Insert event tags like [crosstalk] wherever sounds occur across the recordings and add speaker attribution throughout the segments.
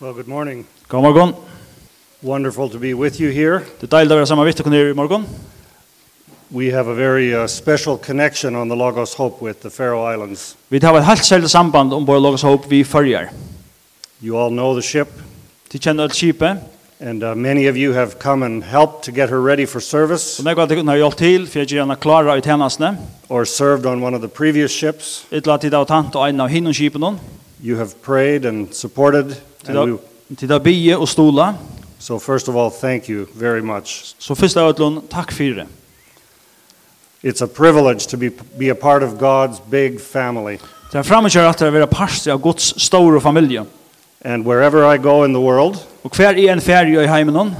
Speaker 1: Well, good morning.
Speaker 2: God morgon.
Speaker 1: Wonderful to be with you here.
Speaker 2: Det er deilig å være sammen med dere i morgen.
Speaker 1: We have a very uh, special connection on the Lagos Hope with the Faroe Islands.
Speaker 2: Vi har et helt særlig samband om vår Logos Hope vi følger.
Speaker 1: You all know the ship,
Speaker 2: De kjenner et kjipe,
Speaker 1: and uh, many of you have come and helped to get her ready for service
Speaker 2: som jeg har kunnet hjulpet til, for jeg gjør henne klare i tjenestene.
Speaker 1: or served on one of the previous ships.
Speaker 2: Et eller annet tid av tant og en av hinnom kjipene.
Speaker 1: You have prayed and supported.
Speaker 2: Til
Speaker 1: And
Speaker 2: av,
Speaker 1: we,
Speaker 2: til av bie og stola.
Speaker 1: so, first of all, thank you very much.
Speaker 2: Så først av utlån, takk for det.
Speaker 1: It's a privilege to be, be a part of God's big family.
Speaker 2: Det er fremmedgjør at det er å være parster av Guds store familie.
Speaker 1: And wherever I go in the world,
Speaker 2: Og hver er en ferie i heimen noen.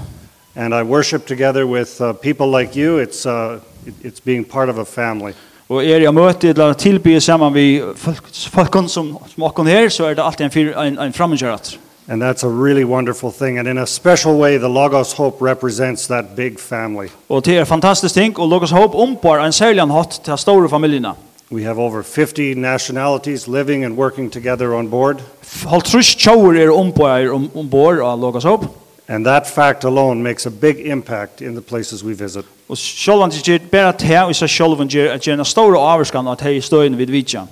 Speaker 1: and I worship together with uh, people like you, it's, uh, it, it's being part of a family.
Speaker 2: Og er jeg møter eller tilbyr sammen med folk, folkene som, som åkken her, så er det alltid en, fyr- en, en fremmedgjør at.
Speaker 1: And that's a really wonderful thing. And in a special way, the Logos Hope represents that big family.
Speaker 2: Og det er fantastisk ting, og Lukas Håp ombar en særlig hatt til store familiene.
Speaker 1: We have over 50 nationalities living and working together on board.
Speaker 2: Halvtrus tjauer er ombar om, ombord av Lukas Håp,
Speaker 1: And that fact alone makes a big impact in the places we visit.
Speaker 2: og selv om det gjør bare te og seg selv om det gjør at gjør en stor avskan at det er støyene vid vidtja.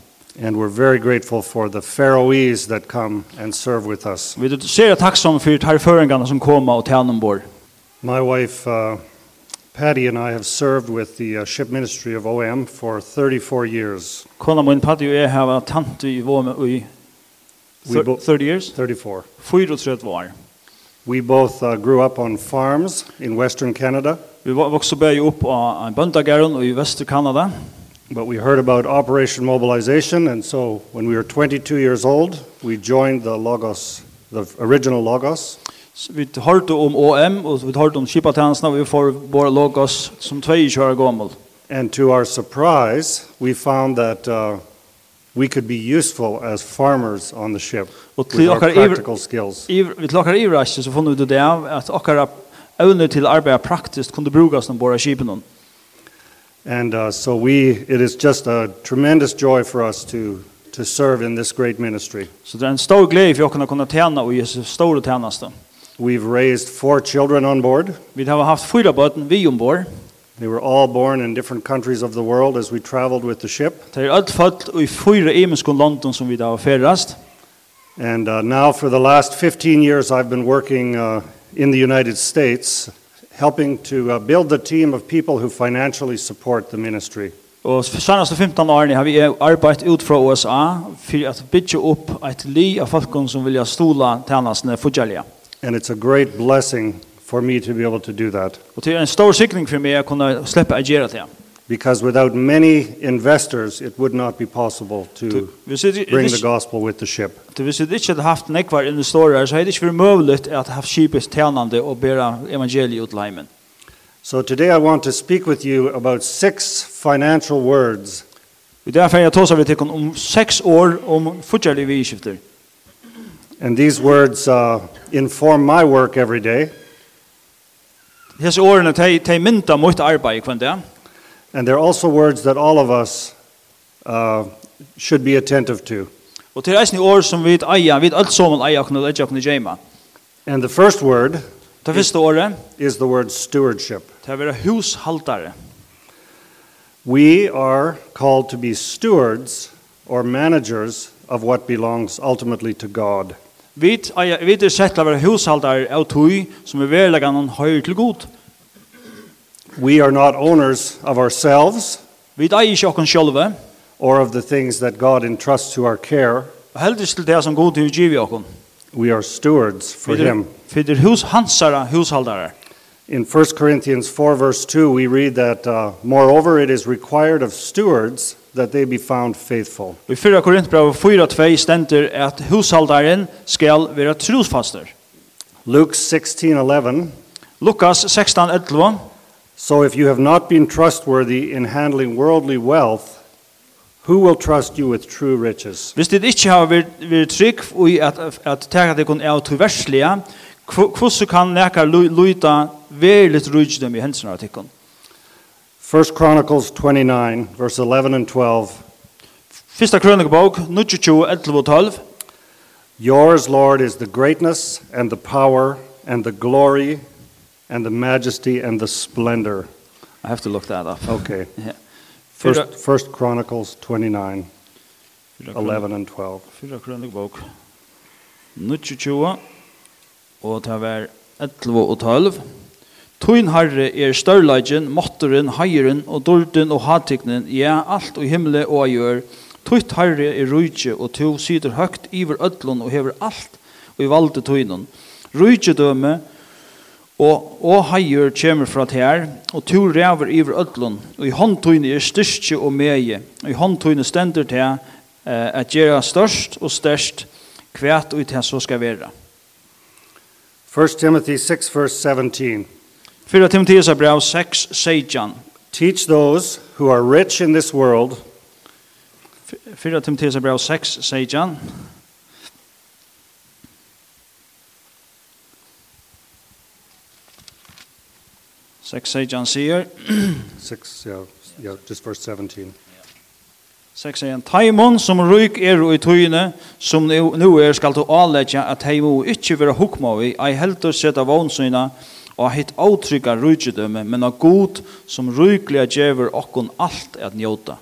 Speaker 1: And we're very grateful for the Faroese that come and serve with us.
Speaker 2: Vi ser takksomme for tarføringene som kommer og tjener ombord.
Speaker 1: My wife, uh, Patty, and I have served with the uh, ship ministry of OM for 34 years.
Speaker 2: Kona min Patti og jeg har vært tant i vår med i
Speaker 1: We bo-
Speaker 2: 30 years,
Speaker 1: 34.
Speaker 2: 34 år.
Speaker 1: We both uh, grew up on farms in Western Canada.
Speaker 2: Vi vok- vokste bare opp av en bøndagaren i Vester-Kanada,
Speaker 1: But we heard about Operation Mobilization, and so when we were 22 years old, we joined the Logos, the original Logos,
Speaker 2: Så Vi hørte om OM, um og vi hørte om Kipatjenestene, og vi får vår logos som tvei kjører gammel.
Speaker 1: and to our surprise, we found that uh, we could be useful as farmers on the ship
Speaker 2: Og
Speaker 1: with
Speaker 2: til
Speaker 1: our
Speaker 2: okkar iver,
Speaker 1: practical skills.
Speaker 2: iver, vi til okkar iverreiste, så funnet vi det av at okkar evner til arbeid praktisk kunne brukes når våre skipen.
Speaker 1: And uh, so we, it is just a tremendous joy for us to, to serve in this great ministry.
Speaker 2: Så det er en stor glede for okkar å kunne tjene og Jesu store tjeneste.
Speaker 1: We've raised four children on board.
Speaker 2: Vi har haft fyra bøten vi ombord.
Speaker 1: They were all born in different countries of the world as we traveled with the ship.
Speaker 2: Det er alt født i fyra imenskon London som vi har ferrast.
Speaker 1: And uh, now, for the last 15 years, I've been working uh, in the United States, helping to uh, build the team of people who financially support the ministry.
Speaker 2: Og for seneste 15 årene har vi arbeidt ut fra USA for at bygge opp et li av folkene som vilja stola tjenestene fortjellige.
Speaker 1: And it's a great blessing for me to be able to do that.
Speaker 2: Og det er en stor sikring for meg å kunne slippe å gjøre det.
Speaker 1: Because without many investors, it would not be possible
Speaker 2: Du-
Speaker 1: to
Speaker 2: Hvis jeg
Speaker 1: bring the
Speaker 2: ikke
Speaker 1: gospel with the ship.
Speaker 2: hvis jeg ikke hadde haft nekvar investorer, så hadde det ikke vært mulig at ha skipet tjenende og bære evangeliet ut leimen.
Speaker 1: So, today I want to speak with you about six financial words
Speaker 2: I dag får jeg ta seg til om seks år om fortjellige vidskifter.
Speaker 1: And these words uh, inform my work every day,
Speaker 2: Hese årene de, de mynda mot arbeid hver dag,
Speaker 1: and they're also words that all of us uh, should be attentive to.
Speaker 2: og til reisende år som vi eier, vi alt som eier kunne legge kunne gjemme.
Speaker 1: And the first word
Speaker 2: Det første året,
Speaker 1: is the word stewardship.
Speaker 2: det er å være hushaldare.
Speaker 1: We are called to be stewards or managers of what belongs ultimately to God.
Speaker 2: Vi eier, vi er sett til å være hushaldare av tog som er verleggende høyre til god.
Speaker 1: We are not owners of ourselves
Speaker 2: Vi eier ikke oss sjølve,
Speaker 1: or of the things that God entrusts to our care.
Speaker 2: Og heldigvis til det som god til å gi vi okken.
Speaker 1: We are stewards for Him.
Speaker 2: For det er hus, hansara hushaldare.
Speaker 1: In 1 Corinthians 4, verse 2, we read that, uh, Moreover, it is required of stewards that they be found faithful.
Speaker 2: Og i 4 Korintbrev 4.2 stender at hushaldaren skal være trosfaster.
Speaker 1: Luke 16, 11,
Speaker 2: Lukas 16.11
Speaker 1: So if you have not been trustworthy in handling worldly wealth, who will trust you with true riches?
Speaker 2: Hvis det ikke har vært, vært trygg i at, at tega det kun er tilverslige, hvordan kan nekar luita verligt rujtdom i hensyn av tikkun?
Speaker 1: 1 Chronicles 29, verse 11 and 12,
Speaker 2: Fyrsta krønikebok, 22, 11 og 12.
Speaker 1: Yours, Lord, is the greatness and the power and the glory and the majesty and the splendor.
Speaker 2: I have to look that up.
Speaker 1: Okay.
Speaker 2: Yeah.
Speaker 1: First, First Chronicles 29, 11 and 12.
Speaker 2: Fyra krønlig bok. 29, og det var 11 og 12. Tøyn herre er størleidjen, måtteren, heieren og dården og hatiknen, ja, alt og himle og gjør. Tøyt herre er rujtje, og to syder høgt iver ødlon og hever alt og i valde tøynen. Rujtjedøme og, og heier kommer fra tær, og to ræver iver ødlon, og i håndtøyne er styrke og meie, og i håndtøyne stender tær, eh, at gjøre størst og størst kvært ut her så skal være.
Speaker 1: 1 Timothy 6, verse 17.
Speaker 2: 4 Timotheus er brev 6, Seidjan.
Speaker 1: Teach those who are rich in this world
Speaker 2: 4 Timotheus er brev 6, Seidjan. Seks Seidjan sier,
Speaker 1: Six, yeah, yeah, just verse 17.
Speaker 2: 6 1. Taimon som ryk er i tøyene, som nu nu er skal du avledja at heimo ikkje vera hukma vi, ei heldur seta vånsyna, og hitt avtrykka rydgjedømme, men av god som ryklega djever okkon alt at njóta.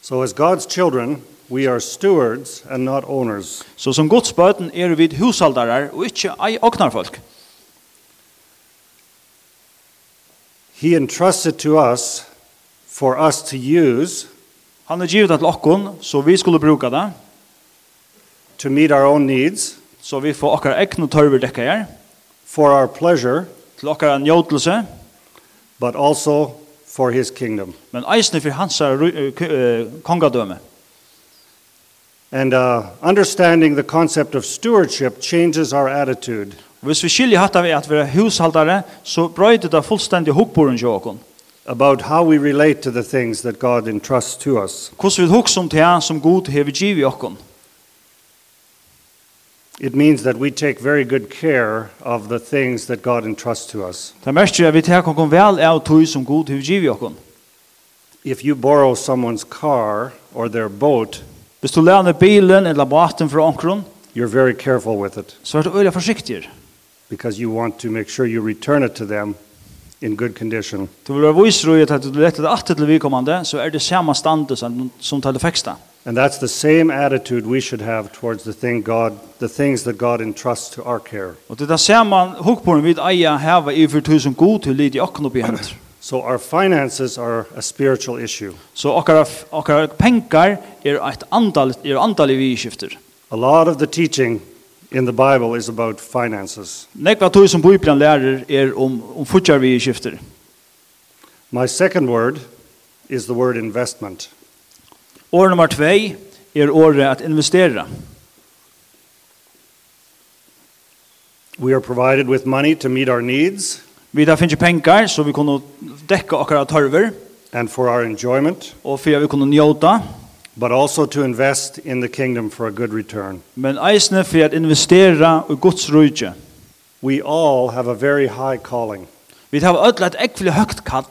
Speaker 1: So, as God's children, we are stewards and not owners.
Speaker 2: Så som Guds bøten er vid hushaldarar, og ikkje ei oknarfolk.
Speaker 1: He entrusts it to us for us to use
Speaker 2: Han er givet til okkon, så vi skulle bruka det,
Speaker 1: to meet our own needs,
Speaker 2: så vi får okkar egnu tørver dekka her,
Speaker 1: for our pleasure,
Speaker 2: til okkar njotelse,
Speaker 1: but also for His kingdom.
Speaker 2: men eisne for hans eh, ry- eh, k- eh, kongadømme.
Speaker 1: And uh, understanding the concept of stewardship changes our attitude.
Speaker 2: Hvis vi skiljer hatt av at vi er hushaldare, så brøyder det fullstendig hukkboren til åkon.
Speaker 1: about how we relate to the things that God entrusts to us.
Speaker 2: Hvordan vi hukkes om det som god hever giv i åkon.
Speaker 1: It means that we take very good care of the things that God entrusts to us.
Speaker 2: Det mest er at vi tar åkon vel av tog som god hever giv i åkon.
Speaker 1: If you borrow someone's car or their boat,
Speaker 2: Hvis du lærer bilen eller baten fra åkron,
Speaker 1: you're very careful with it
Speaker 2: så er du øyla forsiktig.
Speaker 1: because you want to make sure you return it to them in good condition.
Speaker 2: Du vil være viser i at du letter det alltid til vedkommende, så er det samme standet som, som tar det er feksta.
Speaker 1: And that's the same attitude we should have towards the thing God the things that God entrusts to our care.
Speaker 2: Og det er det samme hukkboren vi eier heva i for tog som god hever lid i åkon oppi hent.
Speaker 1: So our finances are a spiritual issue.
Speaker 2: Så okkar, okkar penkar er et andal, er andalig vidskifter.
Speaker 1: A lot of the teaching in the Bible is about finances.
Speaker 2: Nekva tog som Bibelen lærer er om, om futjar vi skifter.
Speaker 1: My second word is the word investment.
Speaker 2: År nummer 2 er året at investera.
Speaker 1: We are provided with money to meet our needs
Speaker 2: Vi der finnes penger så vi kunne dekka akkara tørver
Speaker 1: and for our enjoyment,
Speaker 2: og for at vi kunne njóta.
Speaker 1: but also to invest in the kingdom for a good return.
Speaker 2: Men eisne for at investera i Guds rujtje.
Speaker 1: We all have a very high calling.
Speaker 2: Vi tar öll et ekvile høgt kall.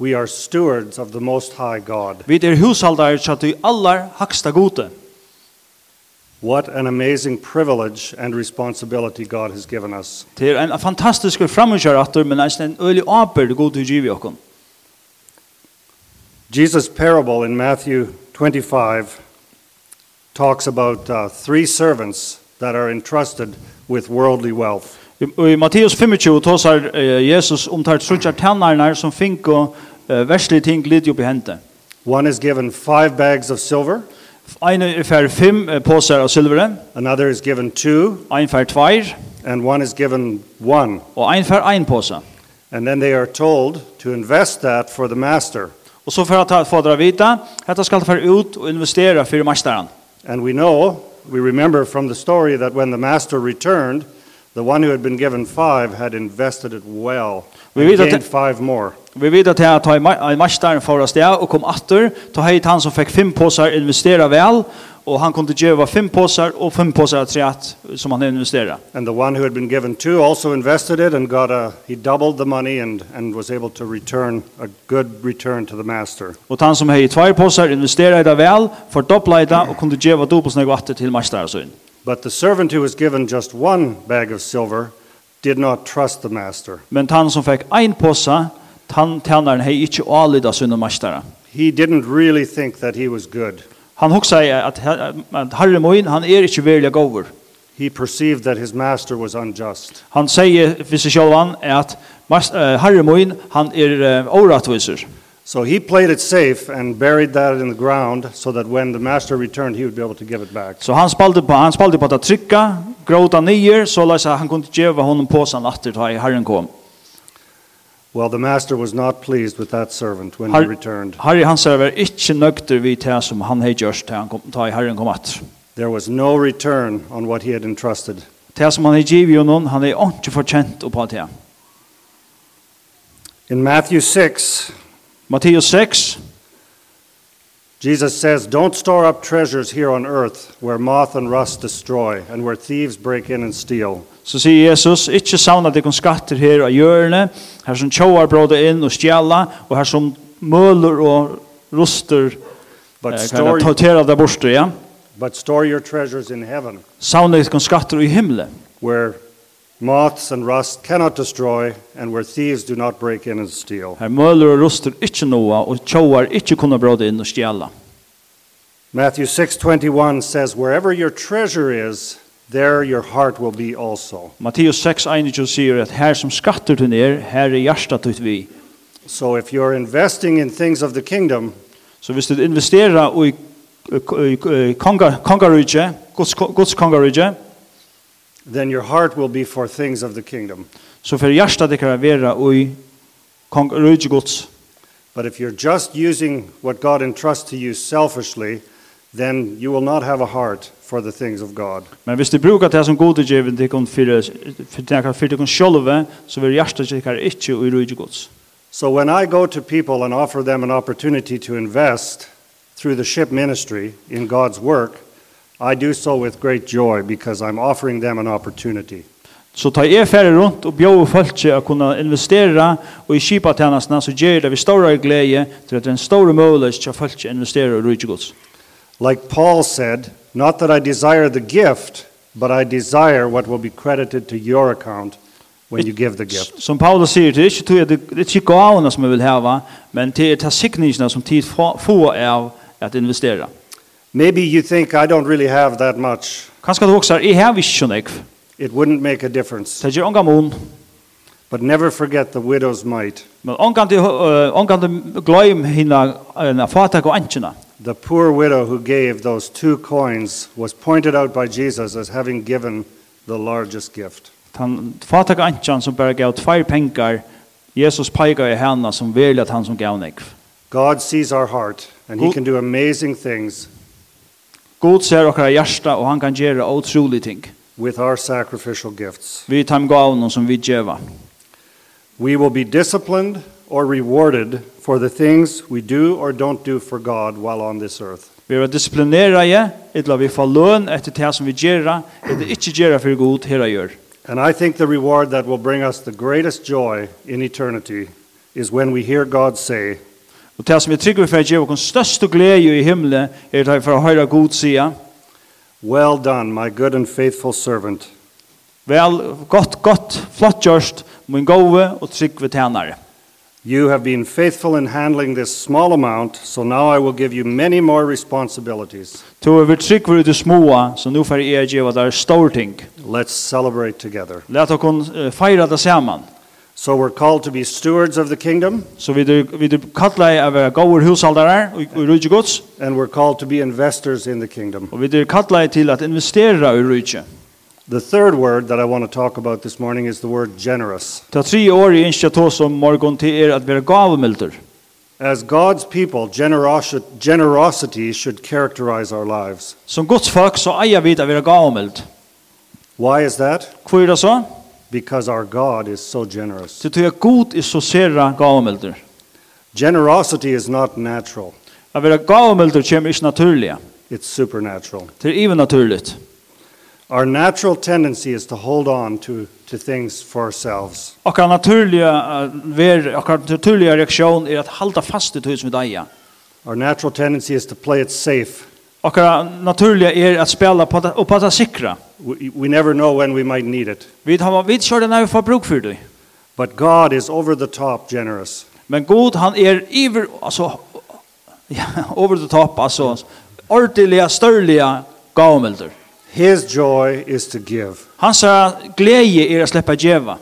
Speaker 1: We are stewards of the Most High God.
Speaker 2: Vi er hushaldar så at vi allar haksta gode.
Speaker 1: What an amazing privilege and responsibility God has given us.
Speaker 2: Det er en fantastisk framgjørator, men eisne en øylig aper gode giv i okkon.
Speaker 1: Jesus' parable in Matthew 25 talks about uh, three servants that are entrusted with worldly wealth.
Speaker 2: I- Og i Matteus 25 tåsar eh, Jesus om tar trutjar tænarnar som fink og eh, verslige ting litt opp i hente.
Speaker 1: One is given five bags of silver,
Speaker 2: Ein er fær fem eh, påsar av silvere,
Speaker 1: another is given two,
Speaker 2: ein fær tveir
Speaker 1: and one is given one.
Speaker 2: og ein fær ein påsa.
Speaker 1: And then they are told to invest that for the master.
Speaker 2: Og så for at få dra vita, hetta skal fær ut og investera fyrir masteren.
Speaker 1: And we know, we remember from the story that when the master returned, the one who had been given five had invested it well.
Speaker 2: We
Speaker 1: and
Speaker 2: read that-
Speaker 1: gained five more.
Speaker 2: Vi vet at at ein ma- ein masteren fór av sted og kom atter, ta heit han som fekk fem påsar investera vel, og han kunde geva fem påsar og fem påsar av treat som han investera.
Speaker 1: And the one who had been given two also invested it and got a, he doubled the money and, and was able to return a good return to the master.
Speaker 2: Og han som hei tvær påsar investera i det vel, fordobla i det og kunde geva dubbelt snakk vatter til masteren sin.
Speaker 1: But the servant who was given just one bag of silver did not trust the master.
Speaker 2: Men han som fikk ein posa, han tjänaren hei ikkje avlida sunne mastara.
Speaker 1: He didn't really think that he was good.
Speaker 2: Han hugsa i at, at Harry Moin, han er ikkje verilig over.
Speaker 1: He perceived that his master was unjust.
Speaker 2: Han sier for seg sjølvan at mas- eh, Harry Moin, han er uh, oratviser.
Speaker 1: So he played it safe and buried that in the ground so that when the master returned, he would be able to give it back.
Speaker 2: Så han spalte på, han spalte på at trykka, gråta nyer, så la seg han kunne djeva honom posan atter da i Herren kom.
Speaker 1: Well, the master was not pleased with that servant when
Speaker 2: Har-
Speaker 1: he returned.
Speaker 2: Harry Hansen var ikkje nøgter vid det som han hei gjørst da han kom, da i Herren kom atter.
Speaker 1: There was no return on what he had entrusted.
Speaker 2: Det som han hei givet jo noen, han hei ikke fortjent oppa det.
Speaker 1: In Matthew 6,
Speaker 2: Matteus 6,
Speaker 1: Jesus says, Don't store up treasures here on earth where moth and rust destroy and where thieves break in and steal.
Speaker 2: Så sier Jesus, ikkje savna dykkan skatter her av hjørne, her som tjóar bråda inn og stjæla, og her som mølur og ruster,
Speaker 1: But,
Speaker 2: eh, kan
Speaker 1: store,
Speaker 2: jeg tortera der borster, ja.
Speaker 1: but store your treasures in heaven
Speaker 2: Savna dykkan skatter i himle,
Speaker 1: where moths and rust cannot destroy and where thieves do not break in and steal.
Speaker 2: her mølur og ruster ikkje noa, og tjóar ikkje kunna bråda inn og stjæla.
Speaker 1: Matthew 6:21 says, "Wherever your treasure is, there your heart will be also."
Speaker 2: Matteus 6, 21 sier at her som skatter du er, her er hjertet ut vi.
Speaker 1: So if you're investing in things of the kingdom,
Speaker 2: Så hvis du investerer i, i, i, i konga- kongarujje, Guds, Guds kongarujje,
Speaker 1: then your heart will be for things of the kingdom.
Speaker 2: så får hjertet dykkar vera i kongarujje Guds
Speaker 1: But if you're just using what God entrusts to you selfishly, then you will not have a heart for the things of God.
Speaker 2: Men hvis du brukar det som gode djeven tikkum fyrir tikkum fyrir tikkum sjálve, så vil hjartet tikkar ikkje og rúgi gods.
Speaker 1: So when I go to people and offer them an opportunity to invest through the ship ministry in God's work, I do so with great joy because I'm offering them an opportunity.
Speaker 2: Så ta jeg færre rundt og bjóðu fólki að kunna investera og i skipa tjennastna, så gjer det vi stóra gleie til at det er en stóra møguleis til at fólki investera i rúgi gods.
Speaker 1: Like Paul said, not that I desire the gift, but I desire what will be credited to your account when you give the gift.
Speaker 2: Som Paulus sier, det er ikkje tog at det det er ikkje gavene som jeg vil heva, men det er ta sikningina som tid få få av at investera.
Speaker 1: Maybe you think I don't really have that much.
Speaker 2: Kanskje du også, jeg hev ikkje sånn ekv,
Speaker 1: It wouldn't make a difference.
Speaker 2: det gjer ongan mun,
Speaker 1: But never forget the widow's mite.
Speaker 2: men ongan til, øh, ongan til gløym hina, hina fatak og antjena.
Speaker 1: The poor widow who gave those two coins was pointed out by Jesus as having given the largest gift.
Speaker 2: Han fatak antjan som bara gav tvær pengar, Jesus peikar i henne som verlig at han som gav nekv.
Speaker 1: God sees our heart, and He
Speaker 2: Who-
Speaker 1: can do amazing things
Speaker 2: God ser okkara hjärsta og han kan gjøre otrolig ting.
Speaker 1: with our sacrificial gifts.
Speaker 2: Vi tar gav noen som vi djeva.
Speaker 1: We will be disciplined or rewarded for the things we do or don't do for God while on this earth.
Speaker 2: Vi er disiplinera i, etla vi får løn etter det som vi gjør, etter ikke gjør for god her jeg gjør.
Speaker 1: And I think the reward that will bring us the greatest joy in eternity is when we hear God say,
Speaker 2: Og det som vi trygger for å gjøre vår største glede i himmelen, er det for å høre god sida.
Speaker 1: Well done, my good and faithful servant.
Speaker 2: Vel, godt, godt, flott gjørst, min gode og trygg ved tjenere.
Speaker 1: You have been faithful in handling this small amount, so now I will give you many more responsibilities.
Speaker 2: To er vi trygg ved det små, så nå får jeg gjøre der store ting.
Speaker 1: Let's celebrate together.
Speaker 2: Lät oss kun eh, feira det saman.
Speaker 1: So we're called to be stewards of the kingdom,
Speaker 2: Så vi du vi du kallar er vera góður húsaldarar og og rúgi gods
Speaker 1: and we're called to be investors in the kingdom.
Speaker 2: og vi du kallar er til at investera i rúgi.
Speaker 1: The third word that I want to talk about this morning is the word generous.
Speaker 2: Ta tre år i initiativ som morgon til er at vera gávumildur.
Speaker 1: As God's people, generos- generosity should characterize our lives.
Speaker 2: Som Guds folk så eier vi at vera gávumildur.
Speaker 1: Why is that?
Speaker 2: Hvor er det så?
Speaker 1: Because our God is so generous.
Speaker 2: Så tog jeg god i så sera gávumildur.
Speaker 1: Generosity is not natural,
Speaker 2: At vera gávumildur kommer ikke naturlig.
Speaker 1: it's supernatural.
Speaker 2: Det er even naturligt.
Speaker 1: Our natural tendency is to hold on to, to things for ourselves.
Speaker 2: Okkar naturliga eh, ver, okkar naturliga reaktion er at halda fast i tog som vi eier.
Speaker 1: Our natural tendency is to play it safe.
Speaker 2: Akkurat naturliga er att spela på det, och på det säkra.
Speaker 1: We, we never know when we might need it.
Speaker 2: Vi har vi kör den när vi får bruk för det.
Speaker 1: But God is over the top generous.
Speaker 2: Men god han är iver alltså ja, [laughs] over the top alltså ordentliga störliga gavmilder.
Speaker 1: His joy is to give.
Speaker 2: Hans eh, glädje är att släppa djeva.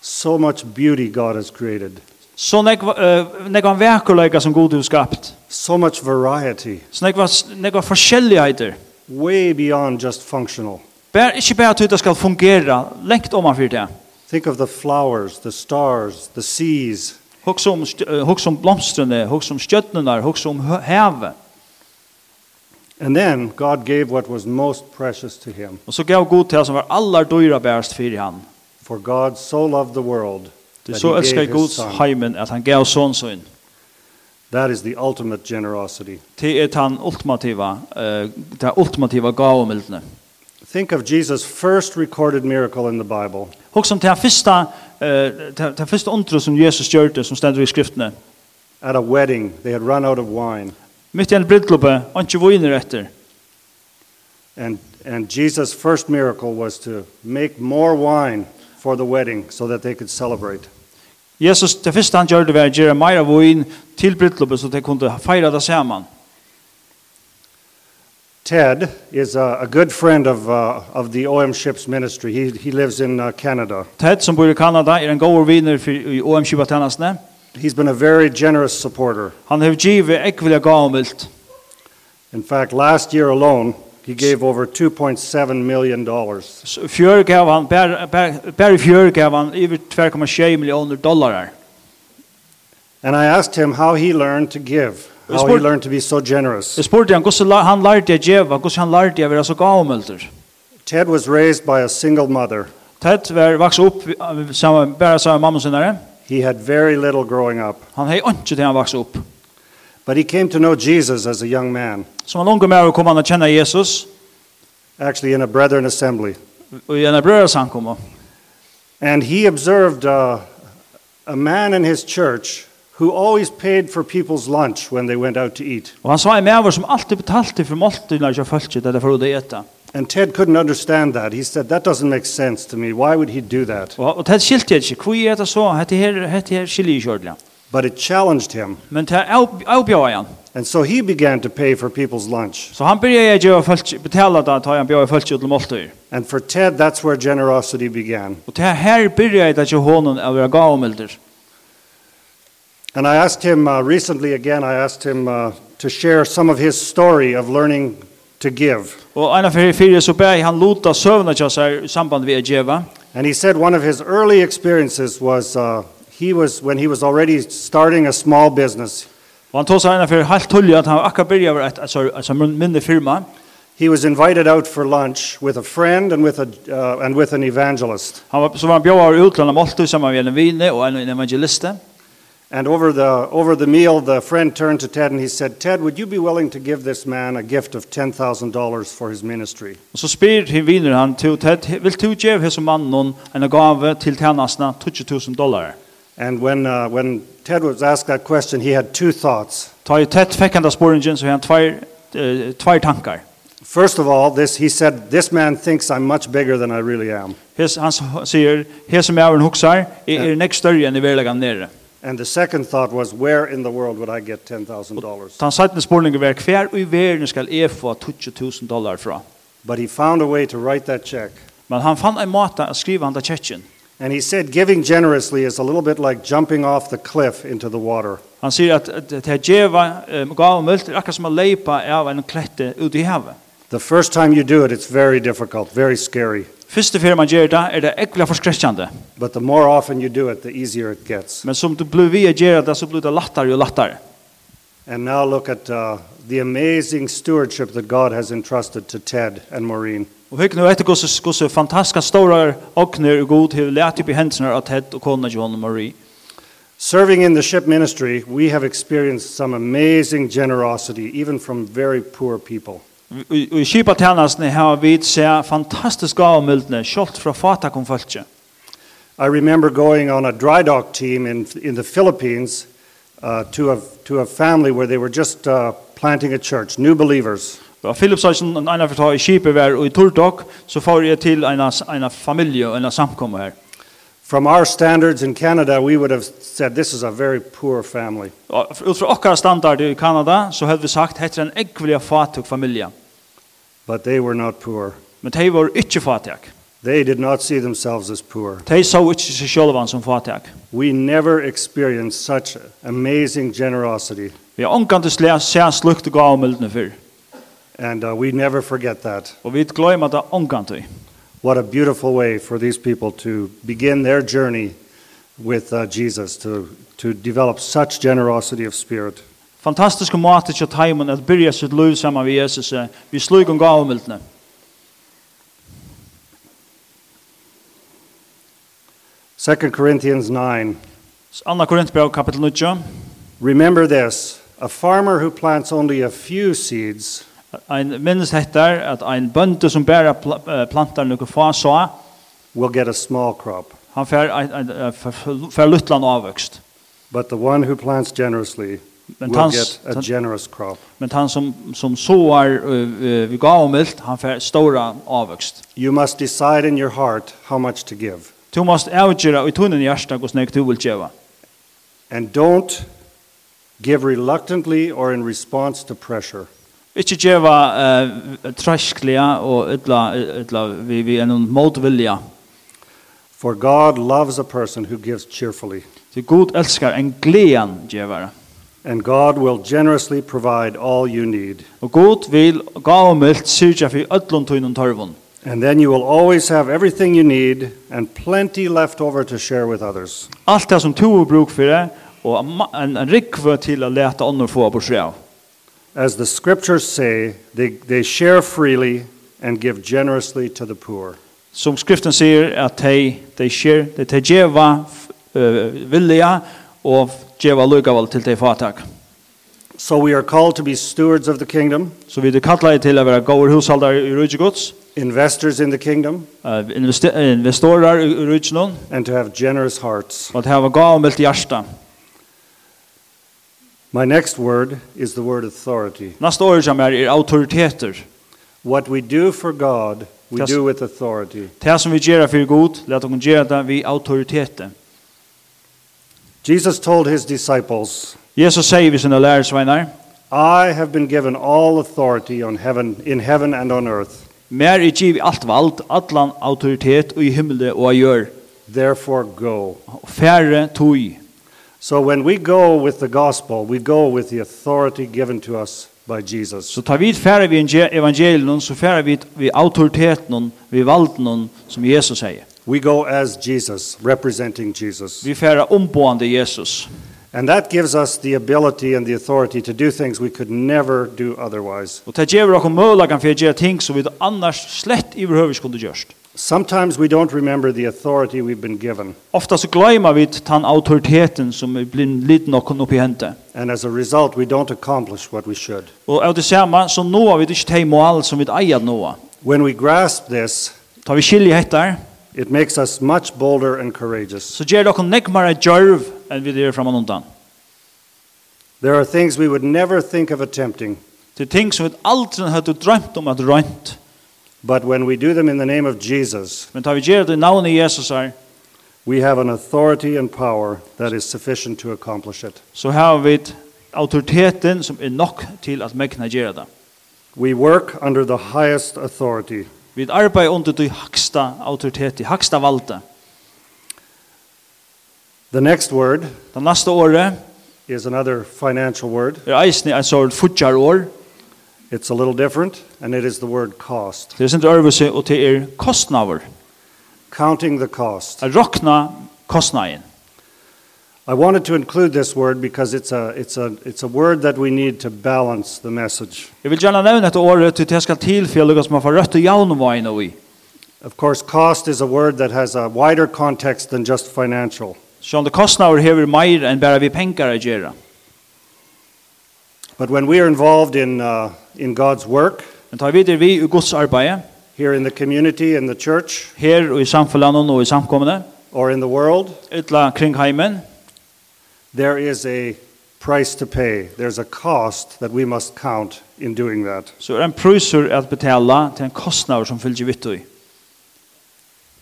Speaker 1: So much beauty God has created,
Speaker 2: Så när uh, när han verkligen som god har skapat.
Speaker 1: so much variety,
Speaker 2: Så när var när var forskjelligheter.
Speaker 1: way beyond just functional.
Speaker 2: Bär inte bara att det ska fungera längt om man för det.
Speaker 1: Think of the flowers, the stars, the seas.
Speaker 2: Hugg som hugg som blomstrene, hugg som stjärnorna, hugg som hö- havet.
Speaker 1: And then God gave what was most precious to him.
Speaker 2: Och så gav god till som var allar dyra bärst för han.
Speaker 1: For God so loved the world
Speaker 2: Det
Speaker 1: that
Speaker 2: så
Speaker 1: he
Speaker 2: älskar
Speaker 1: gave his
Speaker 2: Guds
Speaker 1: son.
Speaker 2: heimen att han gav son sin.
Speaker 1: That is the ultimate generosity.
Speaker 2: Det är han er ultimativa, eh det ultimativa gavmildne.
Speaker 1: Think of Jesus' first recorded miracle in the Bible.
Speaker 2: Hugg som till första um eh till, till första undret som Jesus gjorde som ständer i skriftene.
Speaker 1: At a wedding, they had run out of wine.
Speaker 2: Mitt i en brudloppe, och inte viner efter.
Speaker 1: And, and Jesus' first miracle was to make more wine for the wedding so that they could celebrate.
Speaker 2: Jesus, det første han gjør det var å gjøre mer av vin til brudloppet så de kunne feire det sammen.
Speaker 1: Ted is a, a good friend of, uh, of the OM Ships ministry. He, he lives in uh, Canada.
Speaker 2: Ted, som bor i Kanada, er en god viner for, i OM-kibatennene.
Speaker 1: He's been a very generous supporter.
Speaker 2: Han har givet ekvile gavmilt.
Speaker 1: In fact, last year alone, he gave over $2.7 million.
Speaker 2: Så Fjør gav han, bare bare- bare i fjør gav han over 2,6 millioner dollar.
Speaker 1: And I asked him how he learned to give,
Speaker 2: Yes,
Speaker 1: how he
Speaker 2: but-
Speaker 1: learned to be so generous.
Speaker 2: Jeg spurte han, hvordan la- han lærte jeg djeva, hvordan han lærte jeg å være så gavmilter.
Speaker 1: Ted was raised by a single mother.
Speaker 2: Ted var vokst opp eh, sammen, bare sammen med mamma sinne.
Speaker 1: He had very little growing up,
Speaker 2: Han har ikke til han vokst opp.
Speaker 1: but he came to know Jesus as a young man,
Speaker 2: Som han unge med kom han å kjenne Jesus,
Speaker 1: actually in a brethren assembly.
Speaker 2: og i en brødre samkommer.
Speaker 1: And he observed uh, a man in his church who always paid for people's lunch when they went out to eat.
Speaker 2: Og han sa en maver som alltid betalte for måltidene ikke følte det for å eta.
Speaker 1: And Ted couldn't understand that. He said, That doesn't make sense to me. Why would he do that?
Speaker 2: Og, og det skilte jeg ikke. Hvor er det så? Hette her, hette her skiljer ikke ordentlig.
Speaker 1: But it challenged him.
Speaker 2: Men det avbjør han.
Speaker 1: And so he began to pay for people's lunch.
Speaker 2: Så han begynte jeg gjøre folk, betale det, ta han bjør folk til måltider.
Speaker 1: And for Ted, that's where generosity began.
Speaker 2: Og det her begynte jeg ikke hånden av å gavmilder.
Speaker 1: And I asked him uh, recently again, I asked him uh, to share some of his story of learning to give.
Speaker 2: Og en av fyrir fyrir så ber han lota søvna til seg i samband med Ejeva.
Speaker 1: And he said one of his early experiences was uh, he was, when he was already starting a small business,
Speaker 2: Og han tog seg en av fyrir halvt tullig at han akkur byrja over et, et, så- et, så minne firma.
Speaker 1: he was invited out for lunch with a friend and with, a, uh, and with an evangelist.
Speaker 2: Han var, så var han bjør over utlandet måltid sammen med en vine og en, en evangeliste.
Speaker 1: And over the, over the meal, the friend turned to Ted and he said, Ted, would you be willing to give this man a gift of $10,000 for his ministry?
Speaker 2: Og så spyr hin viner han til Ted, vil du gjeve hese mannen en gave til tjernasna 20.000 dollar?
Speaker 1: And when, uh, when Ted was asked that question, he had two thoughts.
Speaker 2: Ta i Ted fikk han da sporingen, så har han tvær, eh, tvær tankar.
Speaker 1: First of all, this, he said, this man thinks I'm much bigger than I really am.
Speaker 2: Hes, han s- sier, hese mæveren huksar, jeg er nek større enn i verlegan nere.
Speaker 1: And the second thought was, where in the world would I get $10,000?
Speaker 2: Så han satt en sporingen var hver i verden skal jeg få 20.000 dollar fra.
Speaker 1: But he found a way to write that check.
Speaker 2: Men han fann en måte å skriva han da tjekkjen.
Speaker 1: And he said, giving generously is a little bit like jumping off the cliff into the water.
Speaker 2: Han sier at at det er djeva um, gav mult, akkurat som å leipa av en klette ut i havet.
Speaker 1: The first time you do it, it's very difficult, very scary.
Speaker 2: Første fyrir man gjør det, er det ekla forskrekkjande.
Speaker 1: But the more often you do it, the easier it gets.
Speaker 2: Men som du blir vi att göra det så blir det lättare och lättare.
Speaker 1: And now look at uh, the amazing stewardship that God has entrusted to Ted and Maureen.
Speaker 2: Och hur nu vet du hur så fantastiska stora ogner och god hur lätt upp i händerna att Ted och kona John och Marie.
Speaker 1: Serving in the ship ministry, we have experienced some amazing generosity, even from very poor people.
Speaker 2: Och i kipa tjänsten har vi se fantastiska avmildne kjolt fra fata kom fölkje.
Speaker 1: I remember going on a dry dock team in, in the Philippines uh, to, a, to a family where they were just uh, planting a church, new believers.
Speaker 2: Da Philip sa en annan förtal i Kipever och i Turtok så får jag till en en familj och en samkomma här.
Speaker 1: From our standards in Canada, we would have said this is a very poor family.
Speaker 2: Och ut från våra standard i Kanada så hade vi sagt er heter en äcklig fattig familj.
Speaker 1: But they were not poor.
Speaker 2: Men de var inte fattiga.
Speaker 1: They did not see themselves as poor.
Speaker 2: De såg inte sig själva som fattiga.
Speaker 1: We never experienced such amazing generosity,
Speaker 2: Vi har ångkant att se slukt och gavmildene för.
Speaker 1: and uh, we never forget that.
Speaker 2: Och vi glömmer det ångkant i.
Speaker 1: What a beautiful way for these people to begin their journey with uh, Jesus, to, to develop such generosity of spirit.
Speaker 2: Fantastisk måte til timen at byrja sitt liv sammen med Jesus. eh, Vi slug om gavmildene.
Speaker 1: Second Corinthians 9.
Speaker 2: Anna Korintbrev kapitel 9.
Speaker 1: Remember this a farmer who plants only a few seeds
Speaker 2: Ein minnes hettar at ein bønde som bæra pl eh, plantar nokre få så,
Speaker 1: will get a small crop,
Speaker 2: han fær ein- ein- eh, fær- fær luttlan avvøkst.
Speaker 1: but the one who plants generously
Speaker 2: Men
Speaker 1: will
Speaker 2: han,
Speaker 1: get a
Speaker 2: han,
Speaker 1: generous crop.
Speaker 2: men han som, som soar eh, eh, vi gav om milt, han fær stora avvøkst.
Speaker 1: You must decide in your heart how much to give.
Speaker 2: Du måst avgjøre i tunnen hjärsta hos nek du vil djeva.
Speaker 1: And don't give reluctantly or in response to pressure.
Speaker 2: Ikke djeva uh, trasklea og ytla, ytla vi, vi er noen motvilja.
Speaker 1: For God loves a person who gives cheerfully,
Speaker 2: Til god elskar en glean djevare.
Speaker 1: and God will generously provide all you need.
Speaker 2: Og god vil gav om milt syrja for ötlun tunnen torvun.
Speaker 1: And then you will always have everything you need and plenty left over to share with others.
Speaker 2: Allt det som to har bruk for det, og ma- en, en rikve til å lete andre få på seg av.
Speaker 1: As the scriptures say, they, they share freely and give generously to the poor.
Speaker 2: Som skriften sier, at de, de skjer, de, de djeva uh, vilja, og djeva lukavall til de fatak.
Speaker 1: So we are called to be stewards of the kingdom,
Speaker 2: Så vi kallar det er til å være gode hushaldar i rydgjegods,
Speaker 1: investors in the kingdom,
Speaker 2: uh, investe- eh, investorar i rydgjennom,
Speaker 1: and to have generous hearts.
Speaker 2: og at hava gavmelt hjärsta.
Speaker 1: My next word is the word authority.
Speaker 2: Nästa år som er, er autoriteter.
Speaker 1: What we do for God, we
Speaker 2: Yes.
Speaker 1: do with authority.
Speaker 2: Det som vi gjør for god, let oss gjøre det vi autoriteter.
Speaker 1: Jesus told his disciples,
Speaker 2: Jesus sier vi sine lærersveinar,
Speaker 1: I have been given all authority on heaven, in heaven and on earth.
Speaker 2: Mer er giv alt vald, allan autoritet og i himmelen og i gjør.
Speaker 1: Therefore, go.
Speaker 2: Færre tog.
Speaker 1: So, when we go with the gospel, we go with the authority given to us by Jesus.
Speaker 2: Så tar vi færre vi enge- evangelien, så færre vi vi autoriteten, vi valden, som Jesus sier.
Speaker 1: We go as Jesus, representing Jesus.
Speaker 2: Vi færre omboende Jesus.
Speaker 1: And that gives us the ability and the authority to do things we could never do otherwise.
Speaker 2: Og det gjør dere mølagen for å gjøre ting som vi annars slett i behøver skulle gjørst.
Speaker 1: Sometimes we don't remember the authority we've been given.
Speaker 2: Ofta så glemmer vi den autoriteten som vi blir litt noen opp i hentet.
Speaker 1: And as a result, we don't accomplish what we should.
Speaker 2: Og av det samme, så nå vi ikke de mål som vi eier nå.
Speaker 1: When we grasp this,
Speaker 2: Tar vi skilje etter,
Speaker 1: it makes us much bolder and courageous.
Speaker 2: så gjør dere nekmere djørv enn vi gjør framan undan.
Speaker 1: There are things we would never think of attempting,
Speaker 2: Det er ting som vi aldri hadde drømt om at rønt.
Speaker 1: but when we do them in the name of Jesus,
Speaker 2: Men tar vi gjør det i navnet Jesus her,
Speaker 1: we have an authority and power that is sufficient to accomplish it.
Speaker 2: så har vi et autoriteten som er nok til at mekna gjør det.
Speaker 1: We work under the highest authority.
Speaker 2: Vi arbeider under det haksta autoritet, det haksta valde.
Speaker 1: The next word
Speaker 2: Det neste året
Speaker 1: is another financial word.
Speaker 2: er eisen et sånt futjar år.
Speaker 1: It's a little different, and it is the word cost.
Speaker 2: Det er sin øvelse, og det er kostnaver.
Speaker 1: Counting the cost.
Speaker 2: At rokna kostnaden.
Speaker 1: I wanted to include this word because it's a, it's a, it's a word that we need to balance the message.
Speaker 2: Jeg vil gjerne nevne dette året til det skal tilfelle hva som man får rødt og jaunveien og i.
Speaker 1: Of course, cost is a word that has a wider context than just financial.
Speaker 2: Så om det kostnaver hever meir enn bare vi penger å gjøre.
Speaker 1: But when we are involved in, uh, in God's work
Speaker 2: Men tar vi det vi i godsarbeidet,
Speaker 1: here in the community, in the church,
Speaker 2: her og i samfunnet og i samkommende,
Speaker 1: or in the world,
Speaker 2: ytla kring heimen,
Speaker 1: there is a price to pay. There's a cost that we must count in doing that.
Speaker 2: Så er det en prøyser at betala til en kostnad som fylgjer vitt i.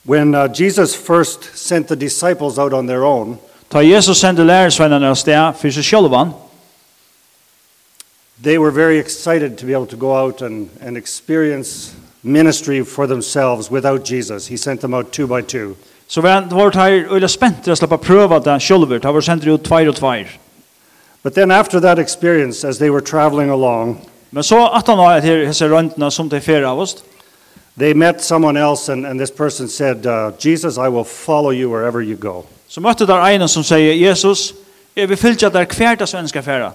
Speaker 1: When uh, Jesus first sent the disciples out on their own,
Speaker 2: Ta Jesus sender lærersvennerne av sted for seg sjølvan,
Speaker 1: they were very excited to be able to go out and, and experience ministry for themselves without Jesus. He sent them out two by two.
Speaker 2: så var det var her øyla spent til å slippe prøve det sjølver. Det var sendt ut tveir og tveir.
Speaker 1: But then, after that experience, as they were traveling along,
Speaker 2: Men så at han var etter hese røntene som til fire av oss,
Speaker 1: they met someone else, and, and this person said, uh, Jesus, I will follow you wherever you go.
Speaker 2: så møtte der en som sier, Jesus, jeg vil fylgja der hvert av svenska færa.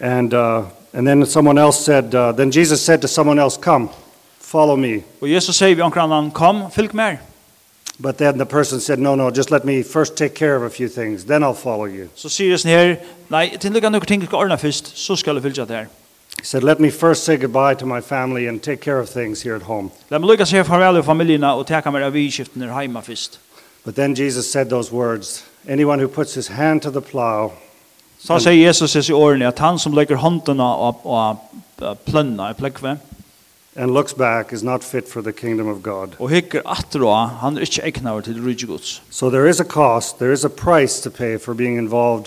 Speaker 1: And, uh, and then someone else said, uh, Then Jesus said to someone else, Come, follow me.
Speaker 2: Og Jesus sier vi omkring annan, kom, fylg mer.
Speaker 1: But then the person said, No, no, just let me first take care of a few things, then I'll follow you.
Speaker 2: Så sier Jesus her, nei, til lykka noen ting skal ordne først, så skal jeg fylgja der.
Speaker 1: He said, Let me first say goodbye to my family and take care of things here at home.
Speaker 2: La meg lykka seg farvel av familierna og teka meg av vidskiften her heima først.
Speaker 1: But then Jesus said those words Anyone who puts his hand to the plow
Speaker 2: Så sier Jesus i årene at han som legger håndene og, og, og plønna i plekve,
Speaker 1: and looks back is not fit for the kingdom of God.
Speaker 2: og hikker atro, han er ikke egnar til rydgjegods.
Speaker 1: So there is a cost, there is a price to pay for being involved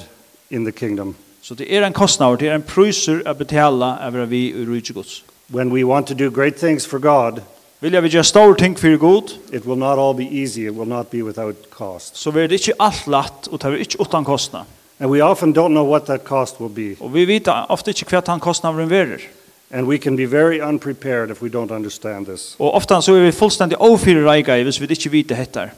Speaker 1: in the kingdom.
Speaker 2: Så det er en kostnad, det er en prøyser å betala over vi i rydgjegods.
Speaker 1: When we want to do great things for God,
Speaker 2: Vilja vi gjøre store ting for god,
Speaker 1: it will not all be easy, it will not be without cost.
Speaker 2: så blir det ikke alt latt, og det er ikke utan kostnad.
Speaker 1: And we often don't know what that cost will be,
Speaker 2: Og vi vet ofte ikke hva han kostnaden verer.
Speaker 1: and we can be very unprepared if we don't understand this.
Speaker 2: Og ofte så er vi fullstendig overfyrer reika i hvis vi ikke vet det heter.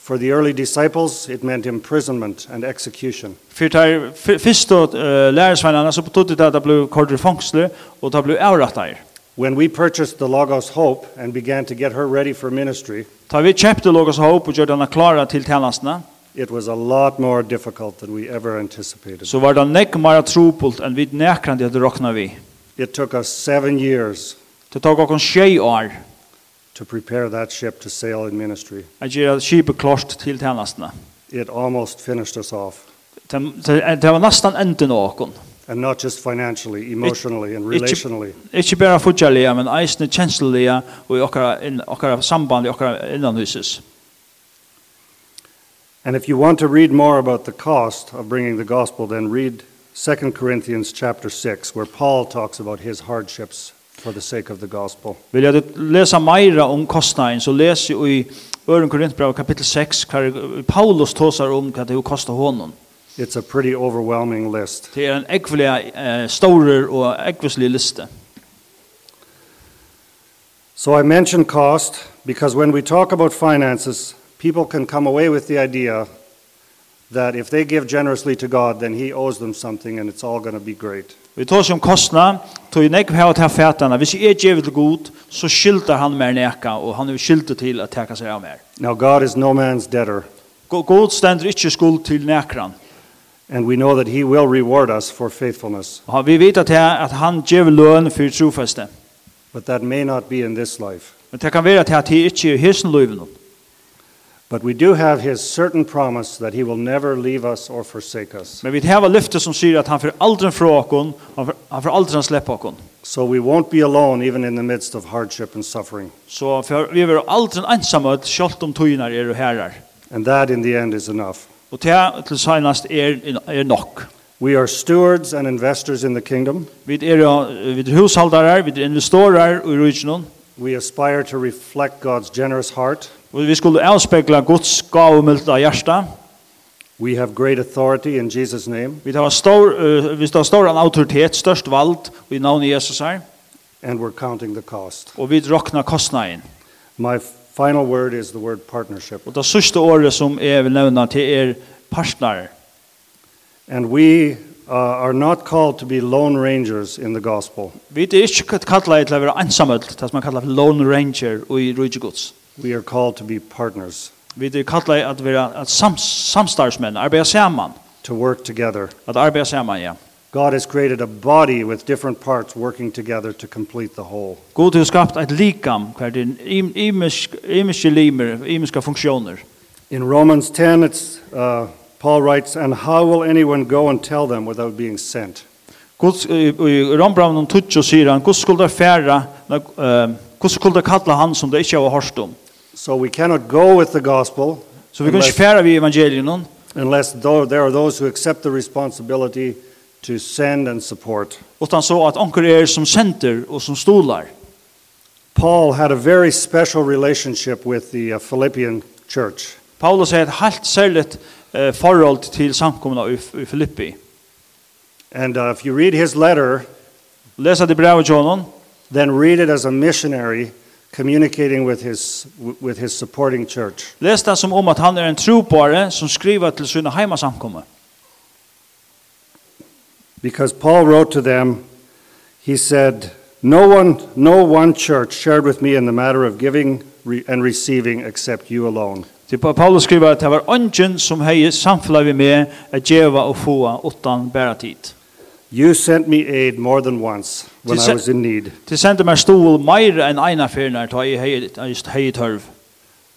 Speaker 1: For the early disciples, it meant imprisonment and execution.
Speaker 2: For der første uh, lærersvennerne så betodde det at det ble kortere fangsle, og det ble avrattet.
Speaker 1: When we purchased the Logos Hope and began to get her ready for ministry,
Speaker 2: Da vi kjøpte Logos Hope og gjør denne klare til tjenestene,
Speaker 1: it was a lot more difficult than we ever anticipated.
Speaker 2: så var det nekk mer trupult enn vi nekrande hadde råkna vi.
Speaker 1: It took us seven years
Speaker 2: Det tok okken tjei år
Speaker 1: to prepare that ship to sail in ministry.
Speaker 2: at gjøre skipet klart til tjenestene.
Speaker 1: It almost finished us off.
Speaker 2: Det, det, det var nesten enden av okken.
Speaker 1: And not just financially, emotionally, and relationally.
Speaker 2: Ikke bare fortjellige, men eisende kjenslige og i okkara, inn, okkara samband i okkara innanhuses.
Speaker 1: And if you want to read more about the cost of bringing the gospel, then read 2 Corinthians chapter 6, where Paul talks about his hardships for the sake of the gospel.
Speaker 2: Vil jeg lese meira um om kostnaden, så leser jeg i Øren Korintbrev kapittel 6, hva Paulus um tåsar om hva det jo kostar honom.
Speaker 1: It's a pretty overwhelming list.
Speaker 2: Det er en ekvelig eh, staurer og ekvelig liste.
Speaker 1: So I mention cost because when we talk about finances, people can come away with the idea that if they give generously to God, then He owes them something and it's all going to be great.
Speaker 2: Vi tar som kostnad, tog jeg nekv her og ta fætene. Hvis jeg er djevel god, så skylder han mer neka, og han er skylder til at teka seg av mer.
Speaker 1: Now, God is no man's debtor,
Speaker 2: Go- God stender ikke skuld til nekran.
Speaker 1: and we know that He will reward us for faithfulness,
Speaker 2: Og han- vi vet at, her, at han djevel løn for trofeste.
Speaker 1: but that may not be in this life.
Speaker 2: Men det kan være at her til ikke er hesen løyven.
Speaker 1: But we do have His certain promise that He will never leave us or forsake us.
Speaker 2: Men vi har lyfte som sier at han får aldri fra okken, han får- han får aldri slippe okken.
Speaker 1: So we won't be alone even in the midst of hardship and suffering.
Speaker 2: Så for, vi er aldri ensamme, selv om tøyene er og herrer.
Speaker 1: And that, in the end, is enough.
Speaker 2: Og det til senest er, er nok.
Speaker 1: We are stewards and investors in the kingdom.
Speaker 2: Vi er, vi er hushaldarar, vi er investorer i ryggen,
Speaker 1: We aspire to reflect God's generous heart.
Speaker 2: og vi skulle avspekla Guds gavmilda hjärsta.
Speaker 1: We have great authority in Jesus' name,
Speaker 2: Vi har stor, eh, vi har stor en autoritet, størst vald i navnet Jesus her,
Speaker 1: and we're counting the cost.
Speaker 2: og vi råknar kostnaden.
Speaker 1: My final word is the word partnership.
Speaker 2: Og det sørste året som jeg vil nevne til er partner.
Speaker 1: And we uh, are not called to be lone rangers in the gospel.
Speaker 2: Vi er ikke kallet til å være ensamhet, det som man kallar for er Lone Ranger og i Rydgjegods.
Speaker 1: We are called to be partners,
Speaker 2: Vi er kallet at være at sams, samstarvsmenn, arbeide sammen.
Speaker 1: to work together.
Speaker 2: At arbeide sammen, ja.
Speaker 1: God has created a body with different parts working together to complete the whole.
Speaker 2: God har skapt et likam, hver din imiske limer, imiske funksjoner.
Speaker 1: In Romans 10, it's uh, Paul writes, And how will anyone go and tell them without being sent?
Speaker 2: Guds i i Rombraun om tutsch sier han, Guds skulle færa, Guds skulle kalla han som det ikke har hørt om.
Speaker 1: So we cannot go with the gospel
Speaker 2: Så vi kan ikke færa vi evangelien,
Speaker 1: unless though there are those who accept the responsibility to send and support.
Speaker 2: utan så at anker er som senter og som stolar.
Speaker 1: Paul had a very special relationship with the uh, Philippian church.
Speaker 2: Paulus er et helt særligt eh, forhold til samkomna i, i Filippi.
Speaker 1: And uh, if you read his letter,
Speaker 2: Lesa det brevet til honom,
Speaker 1: then read it as a missionary communicating with his, with his supporting church.
Speaker 2: les det som om at han er en tropare som skriver til sina heimasamkomna.
Speaker 1: Because Paul wrote to them, he said, No one, no one church shared with me in the matter of giving re- and receiving except you alone.
Speaker 2: Til Pa- Paulus skriver at det var ungen som hei samfunnet vi med at djeva og få utan bæra tid.
Speaker 1: You sent me aid more than once when
Speaker 2: Did
Speaker 1: I
Speaker 2: sa-
Speaker 1: was in need.
Speaker 2: Til sendte meg stol meir enn eina fyrner til hei hei hei tørv.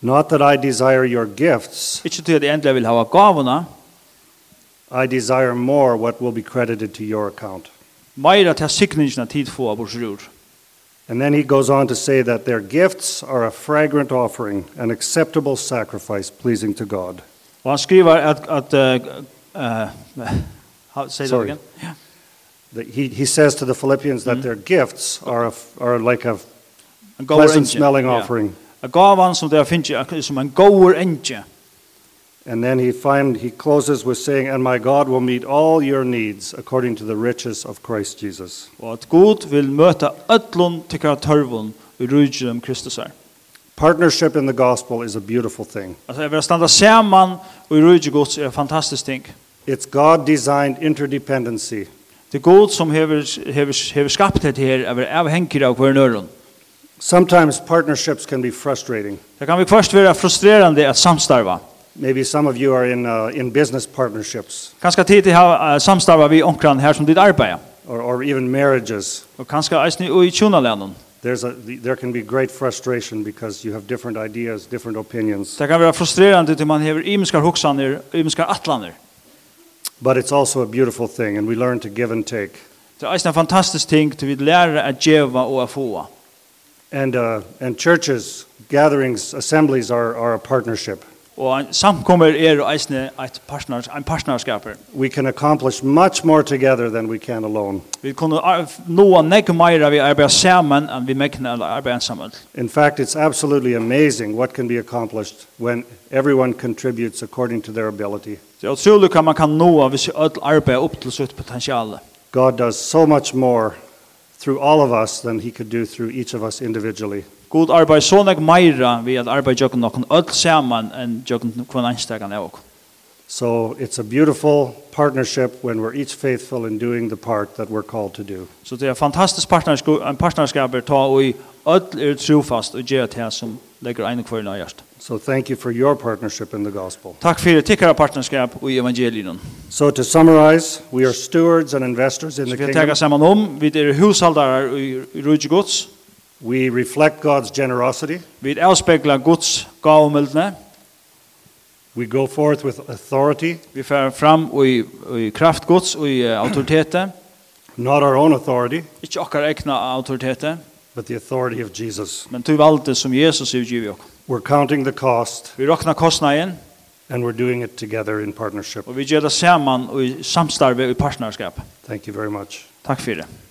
Speaker 1: Not that I desire your gifts,
Speaker 2: Ikke til at jeg endelig vil hava gavene,
Speaker 1: I desire more what will be credited to your account.
Speaker 2: meir at jeg sikningene tid få av borsrur.
Speaker 1: And then he goes on to say that their gifts are a fragrant offering, an acceptable sacrifice pleasing to God.
Speaker 2: Og han skriver at, at uh, uh, how, say that
Speaker 1: Sorry.
Speaker 2: again.
Speaker 1: That He, he says to the Philippians that their gifts are, a f are like a
Speaker 2: En goer
Speaker 1: pleasant
Speaker 2: engine.
Speaker 1: smelling
Speaker 2: Ja.
Speaker 1: offering.
Speaker 2: En gavan som det finnes er som en goer engine.
Speaker 1: And then he find he closes with saying, "And my God will meet all your needs according to the riches of Christ Jesus."
Speaker 2: Og at Gud vil møte ødlun tikkara tørvun i rujtjen om Kristus her.
Speaker 1: Partnership in the gospel is a beautiful thing.
Speaker 2: Altså, jeg vil standa saman og i rujtjen Guds er en fantastisk ting.
Speaker 1: It's God-designed interdependency.
Speaker 2: Det er Gud som hever, hever, hever skapt dette her, er avhengig av hver nøren.
Speaker 1: Sometimes partnerships can be frustrating.
Speaker 2: Det kan vi først være frustrerande at samstarva.
Speaker 1: Maybe some of you are in uh, in business partnerships
Speaker 2: Kanskje tid til å samstarva vi omkran her som ditt arbeid.
Speaker 1: or, or even marriages.
Speaker 2: Og kanskje eisne og i tjunalenen.
Speaker 1: There's a there can be great frustration because you have different ideas, different opinions.
Speaker 2: Det kan være frustrerande til man hever imiskar hoksaner, imiskar atlaner.
Speaker 1: But it's also a beautiful thing, and we learn to give and take.
Speaker 2: Det er eisne en fantastisk ting til vi lærer at djeva og at få.
Speaker 1: And, uh, and churches, gatherings, assemblies are, are a partnership.
Speaker 2: Og en samkommer er og eisne et partners, en partnerskaper.
Speaker 1: We can accomplish much more together than we can alone.
Speaker 2: Vi kunne ar- nå nekk meira vi arbeider sammen enn vi mekne eller arbeider sammen.
Speaker 1: In fact, it's absolutely amazing what can be accomplished when everyone contributes according to their ability.
Speaker 2: Det er utrolig hva man kan nå hvis vi ødel arbeider opp til sitt potensial.
Speaker 1: God does so much more through all of us than he could do through each of us individually.
Speaker 2: God arbeider så nekk meira vi at arbeider jokken noen ødel sammen enn jokken kvann anstegane av oss.
Speaker 1: So it's a beautiful partnership when we're each faithful in doing the part that we're called to do.
Speaker 2: Så det er fantastisk partnerskap, en partnerskap er ta og i ødel er trofast og gjør det som legger en kvar i hjert.
Speaker 1: So thank you for your partnership in the gospel.
Speaker 2: Takk for tikkara partnerskap og i evangelien.
Speaker 1: So to summarize, we are stewards and investors in
Speaker 2: Så
Speaker 1: the
Speaker 2: vi tar
Speaker 1: kingdom.
Speaker 2: sammen om, vi er hushaldarar i i rujtje gods,
Speaker 1: We reflect God's generosity.
Speaker 2: vi avspegler gods gavmildene,
Speaker 1: We go forth with authority,
Speaker 2: vi fer fram og i, og i kraft gods og i eh, autoritetet,
Speaker 1: not our own authority,
Speaker 2: ikke okkar egna autoritetet,
Speaker 1: but the authority of Jesus.
Speaker 2: men tog valde som Jesus er utgivet okk.
Speaker 1: We're counting the cost
Speaker 2: Vi råkna kostnaden,
Speaker 1: and we're doing it together in partnership.
Speaker 2: og vi gjør det sammen og i samstarve og i partnerskap.
Speaker 1: Thank you very much.
Speaker 2: Takk for det.